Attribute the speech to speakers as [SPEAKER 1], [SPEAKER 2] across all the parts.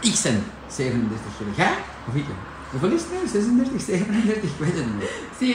[SPEAKER 1] Ik ben 37 kilo. Jij? Of ik? Hoeveel is het nu? 36, 37? Ik weet het niet.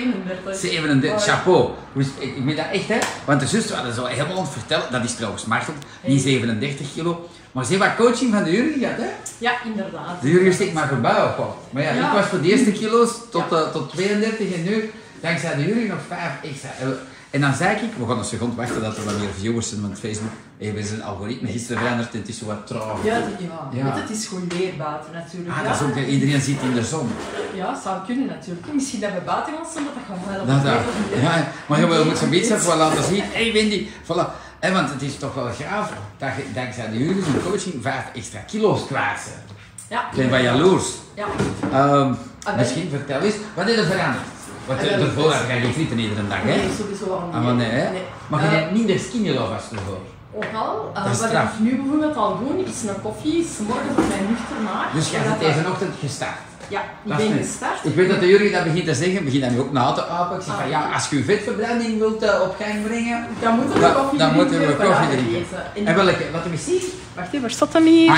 [SPEAKER 2] 37.
[SPEAKER 1] 37,
[SPEAKER 2] Mooi.
[SPEAKER 1] chapeau. Hoe is- Ik ik meen dat echt, hè? Want de zus hadden zo helemaal aan het vertellen. Dat is trouwens Martel, niet 37 kilo. Maar ze heeft wat coaching van de jury gehad, hè?
[SPEAKER 2] Ja, inderdaad.
[SPEAKER 1] De jury steekt maar voorbij op. wat. Maar ja,
[SPEAKER 2] Ja.
[SPEAKER 1] ik was voor de eerste kilo's tot, eh, tot 32 en nu, dankzij de jury, nog 5 extra. En we- En dan zei ik, we gaan een seconde wachten dat er wat meer viewers zijn, want Facebook heeft zijn algoritme gisteren veranderd en het is zo wat traag.
[SPEAKER 2] Ja, dat- ja.
[SPEAKER 1] Ja.
[SPEAKER 2] Want het is goed weer buiten natuurlijk.
[SPEAKER 1] Ah,
[SPEAKER 2] ja.
[SPEAKER 1] dat is ook, eh, iedereen zit in de zon.
[SPEAKER 2] ja, zou kunnen natuurlijk. Misschien dat we buiten gaan staan, dat dat gaat wel helpen.
[SPEAKER 1] Dat, dat. Nou, Ja, maar je moet zo'n beetje even laten zien. Hé hey Wendy, voilà. Hé, want het is toch wel gaaf dat je dankzij de jullie en coaching vijf extra kilo's kwijt zijn.
[SPEAKER 2] Ja.
[SPEAKER 1] Ik ben wel jaloers.
[SPEAKER 2] Ja.
[SPEAKER 1] Ehm,
[SPEAKER 2] Ah, nee.
[SPEAKER 1] misschien vertel eens, wat is er veranderd? Want
[SPEAKER 2] Ah,
[SPEAKER 1] eh,
[SPEAKER 2] wel,
[SPEAKER 1] ervoor
[SPEAKER 2] dus-
[SPEAKER 1] had je geen frieten iedere dag,
[SPEAKER 2] Nee,
[SPEAKER 1] hè?
[SPEAKER 2] sowieso al niet.
[SPEAKER 1] Ah, maar nee, hè?
[SPEAKER 2] Nee.
[SPEAKER 1] Maar je
[SPEAKER 2] Eh,
[SPEAKER 1] hebt minder skinny love als ervoor.
[SPEAKER 2] Ook al, eh,
[SPEAKER 1] Dat is
[SPEAKER 2] wat
[SPEAKER 1] straf.
[SPEAKER 2] ik nu bijvoorbeeld al doe, is een koffie, is morgen voor mijn nuchter maag.
[SPEAKER 1] Dus jij
[SPEAKER 2] Zodat
[SPEAKER 1] bent
[SPEAKER 2] dat-
[SPEAKER 1] deze ochtend gestart.
[SPEAKER 2] Ja, ik
[SPEAKER 1] Dat is
[SPEAKER 2] ben
[SPEAKER 1] net.
[SPEAKER 2] gestart.
[SPEAKER 1] Ik weet dat de jury dat begint te zeggen, begint dat nu ook na te apen. Ik zeg van
[SPEAKER 2] Ah.
[SPEAKER 1] ja, als je je vetverbranding wilt eh, op gang brengen,
[SPEAKER 2] Dan moeten we
[SPEAKER 1] dan,
[SPEAKER 2] koffie
[SPEAKER 1] dan moeten
[SPEAKER 2] drinken
[SPEAKER 1] we
[SPEAKER 2] en
[SPEAKER 1] koffie
[SPEAKER 2] bananen
[SPEAKER 1] drinken.
[SPEAKER 2] eten.
[SPEAKER 1] En welke, wat heb je zien?
[SPEAKER 2] Wacht even, waar staat hem hier?
[SPEAKER 1] Ah,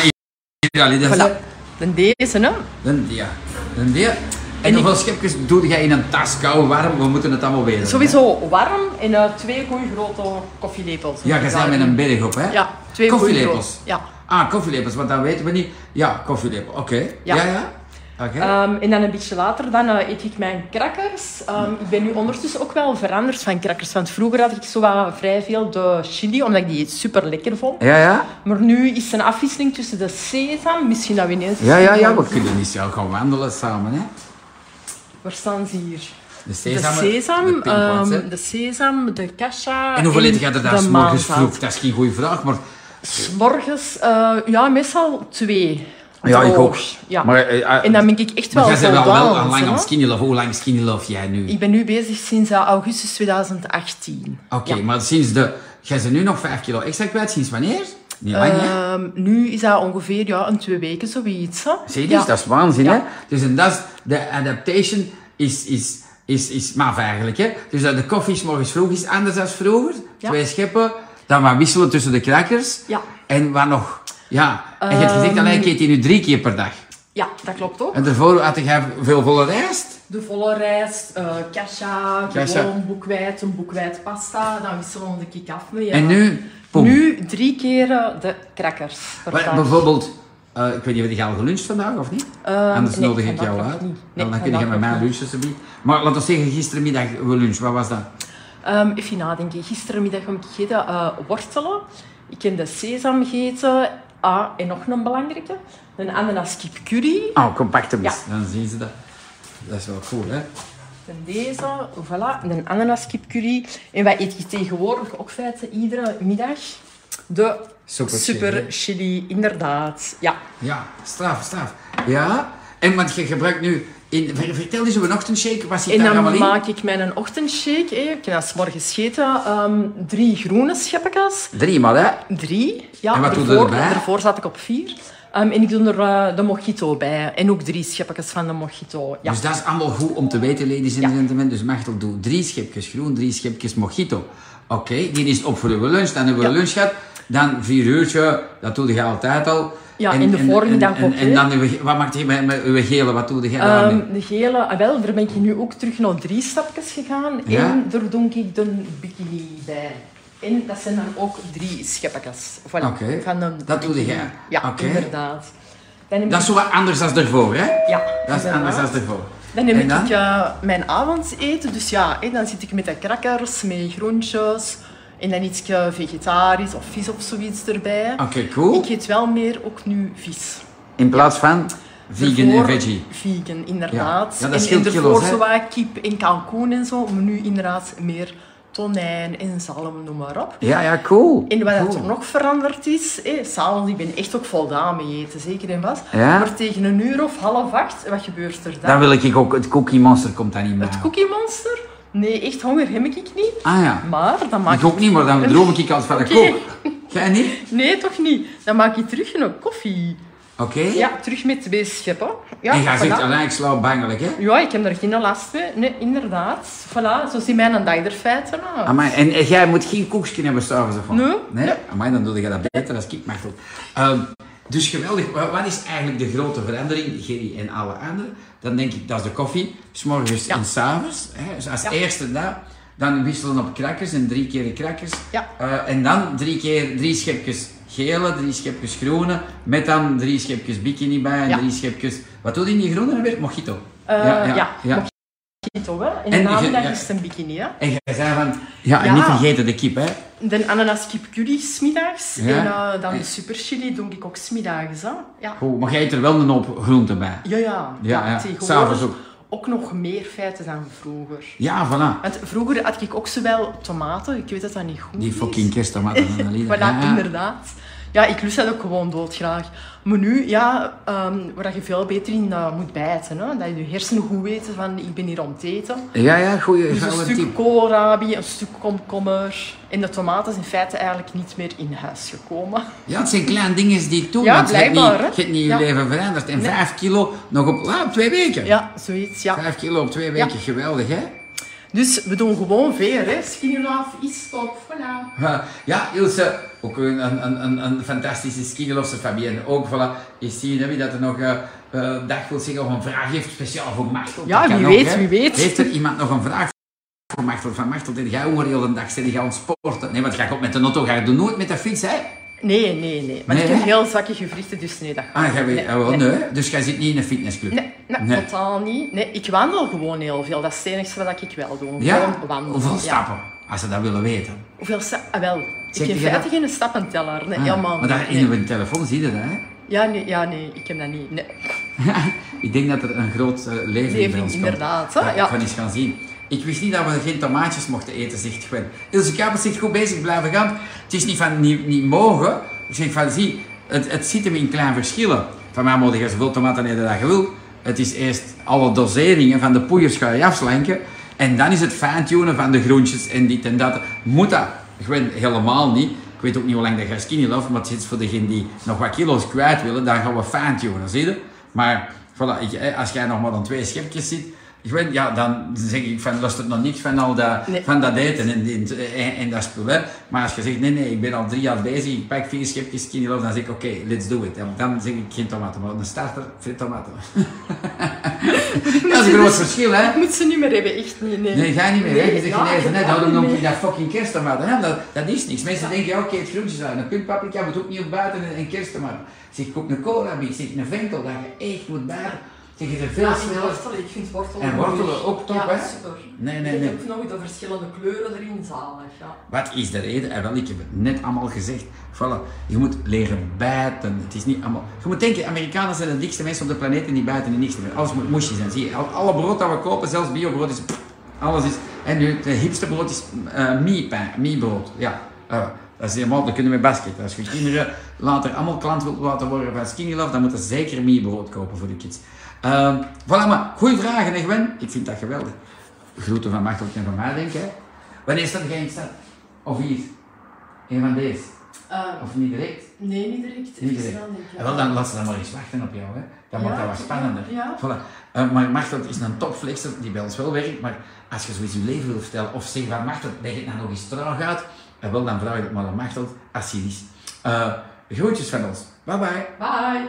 [SPEAKER 1] ja, allee, dat is
[SPEAKER 2] Voilà. Dan deze, hè?
[SPEAKER 1] Een dia. Een dia. En
[SPEAKER 2] En ik-
[SPEAKER 1] hoeveel schepjes doe jij in een tas, koud, warm? We moeten het allemaal weten.
[SPEAKER 2] Sowieso warm en eh, twee goeie grote koffielepels.
[SPEAKER 1] Ja, je bent met een berg op, hè?
[SPEAKER 2] Ja, twee goeie
[SPEAKER 1] Koffielepels.
[SPEAKER 2] grote, ja.
[SPEAKER 1] Ah, koffielepels, want dan weten we niet. Ja, koffielepel. Oké. Ja,
[SPEAKER 2] Ja.
[SPEAKER 1] ja. Oké.
[SPEAKER 2] Ehm, en dan een beetje later dan, eh, eet ik mijn crackers. Ehm, ik ben nu ondertussen ook wel veranderd van crackers. Want vroeger had ik zo wat vrij veel de chili, omdat ik die super lekker vond.
[SPEAKER 1] ja, ja.
[SPEAKER 2] Maar nu is er een afwisseling tussen de sesam, misschien dat we ineens...
[SPEAKER 1] Ja, ja, ja. We kunnen niet zo gaan wandelen samen, hè?
[SPEAKER 2] Waar staan ze hier?
[SPEAKER 1] De sesam.
[SPEAKER 2] de sesam,
[SPEAKER 1] de pinkwats, hè.
[SPEAKER 2] ehm, de sesam, de kasha
[SPEAKER 1] En hoeveel eten gaat er daar
[SPEAKER 2] de
[SPEAKER 1] s'morgens
[SPEAKER 2] maanzaad.
[SPEAKER 1] vroeg? Dat is geen goede vraag, maar...
[SPEAKER 2] S'morgens, eh, ja, meestal twee.
[SPEAKER 1] Ja, ik ook.
[SPEAKER 2] Ja.
[SPEAKER 1] Maar, eh, eh,
[SPEAKER 2] en dan ben ik echt
[SPEAKER 1] Maar
[SPEAKER 2] wel
[SPEAKER 1] jij bent wel, wel
[SPEAKER 2] voldaan,
[SPEAKER 1] al lang
[SPEAKER 2] hè.
[SPEAKER 1] aan skinny love. Hoe lang skinny love jij nu?
[SPEAKER 2] Ik ben nu bezig sinds eh, augustus 2018.
[SPEAKER 1] Oké, maar sinds de... Jij bent nu nog 5 kilo extra kwijt. Sinds wanneer? Niet lang, hè?
[SPEAKER 2] Ehm, nu is dat ongeveer ja, een twee weken, zoiets. Hè?
[SPEAKER 1] Zie je, dus
[SPEAKER 2] Ja.
[SPEAKER 1] dat is waanzin, hè?
[SPEAKER 2] Ja.
[SPEAKER 1] Dus en dat is, de adaptation is, is, is, is maf eigenlijk, hè? Dus dat de koffie s morgens vroeg is anders dan vroeger.
[SPEAKER 2] Ja.
[SPEAKER 1] Twee scheppen, dan wat wisselen tussen de crackers.
[SPEAKER 2] Ja. Ehm.
[SPEAKER 1] En wat nog? Ja, en je hebt gezegd, alleen ik eet die nu drie keer per dag.
[SPEAKER 2] Ja, dat klopt ook.
[SPEAKER 1] En daarvoor had jij veel volle rijst.
[SPEAKER 2] De volle rijst, eh kasha,
[SPEAKER 1] Kasha.
[SPEAKER 2] gewoon boekwijd, een boekwijd pasta. Dan wisselen we de kik af mee. ja.
[SPEAKER 1] En nu, poem.
[SPEAKER 2] Nu drie keer eh, de crackers per
[SPEAKER 1] Wat-
[SPEAKER 2] dag.
[SPEAKER 1] bijvoorbeeld, eh, ik weet niet, heb je al geluncht vandaag of niet?
[SPEAKER 2] Ehm,
[SPEAKER 1] Anders
[SPEAKER 2] nee,
[SPEAKER 1] nodig ik
[SPEAKER 2] vandaag
[SPEAKER 1] jou
[SPEAKER 2] nog
[SPEAKER 1] uit.
[SPEAKER 2] niet. Nee,
[SPEAKER 1] dan kun je
[SPEAKER 2] vandaag
[SPEAKER 1] met
[SPEAKER 2] nog
[SPEAKER 1] mij
[SPEAKER 2] niet.
[SPEAKER 1] lunchen, alsjeblieft. Maar laten we zeggen, gistermiddag we lunchen, wat was dat?
[SPEAKER 2] Ehm, even nadenken. Gisterenmiddag heb ik gegeten eh, wortelen. Ik heb de sesam gegeten. Ah, en nog een belangrijke. Een ananaskip curry.
[SPEAKER 1] Oh, compacte mis.
[SPEAKER 2] Ja.
[SPEAKER 1] Dan zien ze dat. Dat is wel cool, hè?
[SPEAKER 2] En deze, voilà. En een ananaskip curry. En wat eet je tegenwoordig ook feiten iedere middag? De
[SPEAKER 1] Super
[SPEAKER 2] super,
[SPEAKER 1] chili.
[SPEAKER 2] chili. inderdaad. Ja.
[SPEAKER 1] Ja, straf, straf. Ja? En want je gebruikt nu... In, ver- vertel eens over een ochtendshake. Wat zit
[SPEAKER 2] En
[SPEAKER 1] daar allemaal
[SPEAKER 2] dan
[SPEAKER 1] in?
[SPEAKER 2] maak ik mijn ochtendshake. hè. Ik heb dat 's morgens gegeten. ehm, drie groene scheppetjes.
[SPEAKER 1] Drie maal, hè?
[SPEAKER 2] Drie. Ja,
[SPEAKER 1] En wat doe je
[SPEAKER 2] daarvoor,
[SPEAKER 1] erbij?
[SPEAKER 2] daarvoor zat ik op vier. Ehm, en ik doe er eh, de mojito bij. En ook drie schepjes van de mojito. Ja.
[SPEAKER 1] Dus dat is allemaal goed om te weten, ladies en
[SPEAKER 2] Ja.
[SPEAKER 1] gentlemen. Dus Machtel, doe drie schepjes groen, drie schepjes mojito. Oké, die is op voor uw lunch. Dan hebben we
[SPEAKER 2] Ja.
[SPEAKER 1] lunch gehad. Dan vier uurtje, dat doe je altijd al.
[SPEAKER 2] Ja, in de voormiddag
[SPEAKER 1] en, en,
[SPEAKER 2] ook,
[SPEAKER 1] en
[SPEAKER 2] hè?
[SPEAKER 1] dan, uw- wat maakt je met, met uw gele? Wat doe je daarmee?
[SPEAKER 2] Ehm, de gele, ah, wel, daar ben ik nu ook terug naar drie stapjes gegaan.
[SPEAKER 1] Ja.
[SPEAKER 2] En daar doe ik de bikini bij. En dat zijn dan ook drie schepjes. Voilà,
[SPEAKER 1] Oké.
[SPEAKER 2] van de
[SPEAKER 1] Dat doe
[SPEAKER 2] bikini.
[SPEAKER 1] jij.
[SPEAKER 2] Ja,
[SPEAKER 1] Oké.
[SPEAKER 2] inderdaad. Dan heb
[SPEAKER 1] Dat is zo wat anders dan daarvoor, hè?
[SPEAKER 2] ik- ja,
[SPEAKER 1] Dat is anders dan
[SPEAKER 2] inderdaad.
[SPEAKER 1] daarvoor.
[SPEAKER 2] Dan neem
[SPEAKER 1] En
[SPEAKER 2] ik eh, mijn avondeten. Dus ja, hè, dan zit ik met de crackers, met groentjes. En dan iets eh, vegetarisch of vis of zoiets erbij.
[SPEAKER 1] Oké, cool.
[SPEAKER 2] Ik eet wel meer ook nu vis.
[SPEAKER 1] In plaats van vegan en
[SPEAKER 2] Daarvoor
[SPEAKER 1] veggie.
[SPEAKER 2] Vegan, inderdaad.
[SPEAKER 1] Ja, dat
[SPEAKER 2] En-
[SPEAKER 1] scheelt
[SPEAKER 2] en
[SPEAKER 1] kilo's,
[SPEAKER 2] daarvoor
[SPEAKER 1] hè.
[SPEAKER 2] zo wat kip en kalkoen en zo. Maar nu inderdaad meer tonijn en zalm, noem maar op.
[SPEAKER 1] Ja, ja, cool.
[SPEAKER 2] En wat dat
[SPEAKER 1] Cool.
[SPEAKER 2] er nog veranderd is, eh, s'avonds, ik ben echt ook voldaan mee eten, zeker en vast.
[SPEAKER 1] Ja?
[SPEAKER 2] Maar tegen een uur of half acht, wat gebeurt er dan?
[SPEAKER 1] Dan wil ik ook, het Cookie Monster komt dan niet meer.
[SPEAKER 2] Het Cookie Monster? Nee, echt honger heb ik niet.
[SPEAKER 1] Ah ja.
[SPEAKER 2] Maar dan maak
[SPEAKER 1] Ik ook niet, maar dan droom ik altijd van de
[SPEAKER 2] Oké.
[SPEAKER 1] kook. Jij niet?
[SPEAKER 2] Nee, toch niet. Dan maak je terug een koffie.
[SPEAKER 1] Oké.
[SPEAKER 2] Ja, terug met twee scheppen. Ja,
[SPEAKER 1] en jij
[SPEAKER 2] voilà.
[SPEAKER 1] zegt, alleen ik sla bangelijk, hè?
[SPEAKER 2] Ja, ik heb er geen last mee. Nee, inderdaad. Voilà, zo zien mijn dag er feiten uit.
[SPEAKER 1] Amai, en en jij moet geen koekje hebben s'avonds of wat?
[SPEAKER 2] Nee.
[SPEAKER 1] Nee? Amai, dan doe je dat beter als ik, Machtel. Ehm, Dus geweldig. Wa- Wat is eigenlijk de grote verandering, Gerry en alle anderen? Dan denk ik, dat is de koffie. S morgens
[SPEAKER 2] Ja.
[SPEAKER 1] en s'avonds. hè. Dus als
[SPEAKER 2] Ja.
[SPEAKER 1] eerste dat. Dan wisselen op krakkers en drie keer krakkers.
[SPEAKER 2] Ja.
[SPEAKER 1] Eh, en dan drie keer drie schepjes gele, drie schepjes groene. Met dan drie schepjes bikini bij en
[SPEAKER 2] Ja.
[SPEAKER 1] drie schepjes... Wat doe je in die groene weer? Mojito.
[SPEAKER 2] Eh, ja, Mojito, hè. In de
[SPEAKER 1] En je-
[SPEAKER 2] namiddag
[SPEAKER 1] ja.
[SPEAKER 2] is het een bikini, hè.
[SPEAKER 1] En jij zei van... Ja, en
[SPEAKER 2] Ja.
[SPEAKER 1] niet vergeten de kip, hè.
[SPEAKER 2] De ananas kip curry smiddags.
[SPEAKER 1] Ja.
[SPEAKER 2] En eh, dan de super chili doe ik ook smiddags, hè. Ja.
[SPEAKER 1] Goed, maar jij eet er wel een hoop groenten bij.
[SPEAKER 2] Ja, ja.
[SPEAKER 1] Ja, ja.
[SPEAKER 2] tegenwoordig
[SPEAKER 1] S'avonds ook.
[SPEAKER 2] Ook nog meer feiten dan vroeger.
[SPEAKER 1] Ja, voilà.
[SPEAKER 2] Want vroeger had ik ook zowel tomaten, ik weet dat dat niet goed
[SPEAKER 1] Die
[SPEAKER 2] is.
[SPEAKER 1] fucking kerstomaten van Alida.
[SPEAKER 2] Voilà,
[SPEAKER 1] Ja.
[SPEAKER 2] inderdaad. Ja, ik lust dat ook gewoon doodgraag. Maar nu, ja, ehm, waar je veel beter in eh, moet bijten. Hè? Dat je je hersenen goed weten van, ik ben hier om het eten.
[SPEAKER 1] Ja, ja, goeie
[SPEAKER 2] Dus een
[SPEAKER 1] gouden
[SPEAKER 2] stuk
[SPEAKER 1] tip.
[SPEAKER 2] koolrabi, een stuk komkommer. En de tomaten zijn in feite eigenlijk niet meer in huis gekomen.
[SPEAKER 1] Ja, het zijn kleine dingen die ik doe.
[SPEAKER 2] Ja,
[SPEAKER 1] want je hebt
[SPEAKER 2] blijkbaar,
[SPEAKER 1] niet-
[SPEAKER 2] hè.
[SPEAKER 1] Je hebt niet je
[SPEAKER 2] Ja.
[SPEAKER 1] leven veranderd. En
[SPEAKER 2] Nee.
[SPEAKER 1] vijf kilo nog op, ah, op twee weken.
[SPEAKER 2] Ja, zoiets, ja.
[SPEAKER 1] Vijf kilo op twee weken, geweldig hè?
[SPEAKER 2] Dus we doen gewoon veel, hè. Skinny love is top, voilà.
[SPEAKER 1] Ja, Ja, Ilse, ook een, een, een- een, een fantastische skigelosse Fabienne. Ook, voilà, je ziet hè, wie dat er nog eh eh, dag wil zeggen of een vraag heeft, speciaal voor Martel.
[SPEAKER 2] Ja,
[SPEAKER 1] Dat kan
[SPEAKER 2] wie
[SPEAKER 1] ook,
[SPEAKER 2] weet,
[SPEAKER 1] hè.
[SPEAKER 2] wie weet.
[SPEAKER 1] Heeft er iemand nog een vraag voor Martel? Van Martel, die gaat over heel de dag zitten, die gaat sporten. Nee, want ga ik op met de auto, ga je doen nooit met de fiets, hè?
[SPEAKER 2] Nee, nee, nee. Maar
[SPEAKER 1] Nee,
[SPEAKER 2] ik heb
[SPEAKER 1] hè?
[SPEAKER 2] heel zakkige gewrichten, dus nee, dat gaat
[SPEAKER 1] Ah, ga
[SPEAKER 2] niet.
[SPEAKER 1] je, ah, wel, nee. Dus jij zit niet in een fitnessclub?
[SPEAKER 2] Nee, nee, totaal niet. Nee, ik wandel gewoon heel veel. Dat is het enige wat ik wel doe.
[SPEAKER 1] Ja?
[SPEAKER 2] Gewoon wandelen.
[SPEAKER 1] Hoeveel
[SPEAKER 2] ja.
[SPEAKER 1] stappen? Als ze dat willen weten.
[SPEAKER 2] Hoeveel stappen? Ah, wel.
[SPEAKER 1] Zeg
[SPEAKER 2] ik heb
[SPEAKER 1] je
[SPEAKER 2] in
[SPEAKER 1] dat?
[SPEAKER 2] feite geen stappenteller. Nee,
[SPEAKER 1] Ah,
[SPEAKER 2] helemaal
[SPEAKER 1] Maar daar
[SPEAKER 2] niet.
[SPEAKER 1] in
[SPEAKER 2] Nee.
[SPEAKER 1] uw telefoon zie je dat, hè?
[SPEAKER 2] Ja, nee, ja, nee, ik heb dat niet. Nee.
[SPEAKER 1] Ik denk dat er een groot eh, leven, in bij
[SPEAKER 2] Levering,
[SPEAKER 1] ons komt.
[SPEAKER 2] inderdaad, hè?
[SPEAKER 1] Dat ik
[SPEAKER 2] Ja.
[SPEAKER 1] Van eens gaan zien. Ik wist niet dat we geen tomaatjes mochten eten, zegt Gwen. Ilse Kapers zegt goed bezig, blijven gaan. Het is niet van niet, niet mogen. Ik zeg van zie, het, het zit hem in kleine verschillen. Van mij mogen je zoveel tomaten eten dat je wil. Het is eerst alle doseringen van de poeiers ga je afslanken. En dan is het fine-tunen van de groentjes en dit en dat. Moet dat? Gwen, helemaal niet. Ik weet ook niet hoe lang dat gaat skinny love, maar het is voor degenen die nog wat kilo's kwijt willen, dan gaan we fine-tunen, zie je? Maar voilà, ik, eh, als jij nog maar dan twee schepjes zit, ik weet, ja, dan zeg ik van, lust het nog niks van al dat,
[SPEAKER 2] Nee.
[SPEAKER 1] van dat eten en, en, en- en dat spul. Hè. Maar als je zegt, nee, nee, ik ben al drie jaar bezig, ik pak vier schepjes skinny love, dan zeg ik, oké, let's do it. En dan zeg ik geen tomaten, maar een starter, frit tomaten. dat is een groot verschil, hè.
[SPEAKER 2] Ik moet ze niet meer hebben, echt niet. Nee,
[SPEAKER 1] Nee, ga niet meer, hè. Je zegt,
[SPEAKER 2] ja,
[SPEAKER 1] nee,
[SPEAKER 2] ik
[SPEAKER 1] ze
[SPEAKER 2] heb
[SPEAKER 1] net,
[SPEAKER 2] dat
[SPEAKER 1] houden
[SPEAKER 2] niet
[SPEAKER 1] op
[SPEAKER 2] meer.
[SPEAKER 1] dat fucking kersttomaten. hè. Dat, dat is niks. Mensen denken, ja, oké, het groentje uit. Een puntpaprika moet ook niet op buiten en, en kersttomaten. Ik Zeg, koop een koolrabi, ik zeg, een venkel, dat je echt moet buiten. Ik Zeg, je er veel
[SPEAKER 3] Ja, en
[SPEAKER 1] sneller...
[SPEAKER 3] wortelen, ik vind wortelen
[SPEAKER 1] En wortelen ook top,
[SPEAKER 3] ja,
[SPEAKER 1] hè?
[SPEAKER 3] super.
[SPEAKER 1] Nee, nee,
[SPEAKER 3] Ik
[SPEAKER 1] nee.
[SPEAKER 3] heb nog de verschillende kleuren erin, zalig, ja.
[SPEAKER 1] Wat is de reden? En wel, ik heb het net allemaal gezegd. Voilà, je moet leren bijten. Het is niet allemaal... Je moet denken, Amerikanen zijn de dikste mensen op de planeet en die bijten in niks meer. Alles moet moesje zijn. Zie je, al- alle brood dat we kopen, zelfs biobrood, is... pff, Alles is... En nu, het hipste brood is eh mie-pijn, mie-brood. Ja, eh, dat is helemaal... Dat kunnen we basket. Als je kinderen later allemaal klant wilt laten worden van Skinny Love, dan moeten ze zeker mie-brood kopen voor de kids. Eh, voilà, maar goede vragen, hè, Gwen? Ik vind dat geweldig. Groeten van Machtel en van mij, denk ik. hè. Wanneer staat jij in stad? Of hier? Een van deze?
[SPEAKER 3] Eh,
[SPEAKER 1] Of niet direct?
[SPEAKER 3] nee, niet direct.
[SPEAKER 1] Niet
[SPEAKER 3] Niet
[SPEAKER 1] direct.
[SPEAKER 3] niet, ja.
[SPEAKER 1] En wel, dan laat ze dan maar eens wachten op jou. Hè. Dan
[SPEAKER 3] Ja,
[SPEAKER 1] wordt dat wat spannender.
[SPEAKER 3] ja.
[SPEAKER 1] Voilà. Eh, maar Martel is een topflexer die bij ons wel werkt. Maar als je zoiets je leven wil vertellen of zeg van Martel, leg het nou nog eens traag uit. En Eh, wel, dan vraag je het maar aan Martel als hij is. Eh groetjes van ons. Bye bye.
[SPEAKER 3] Bye!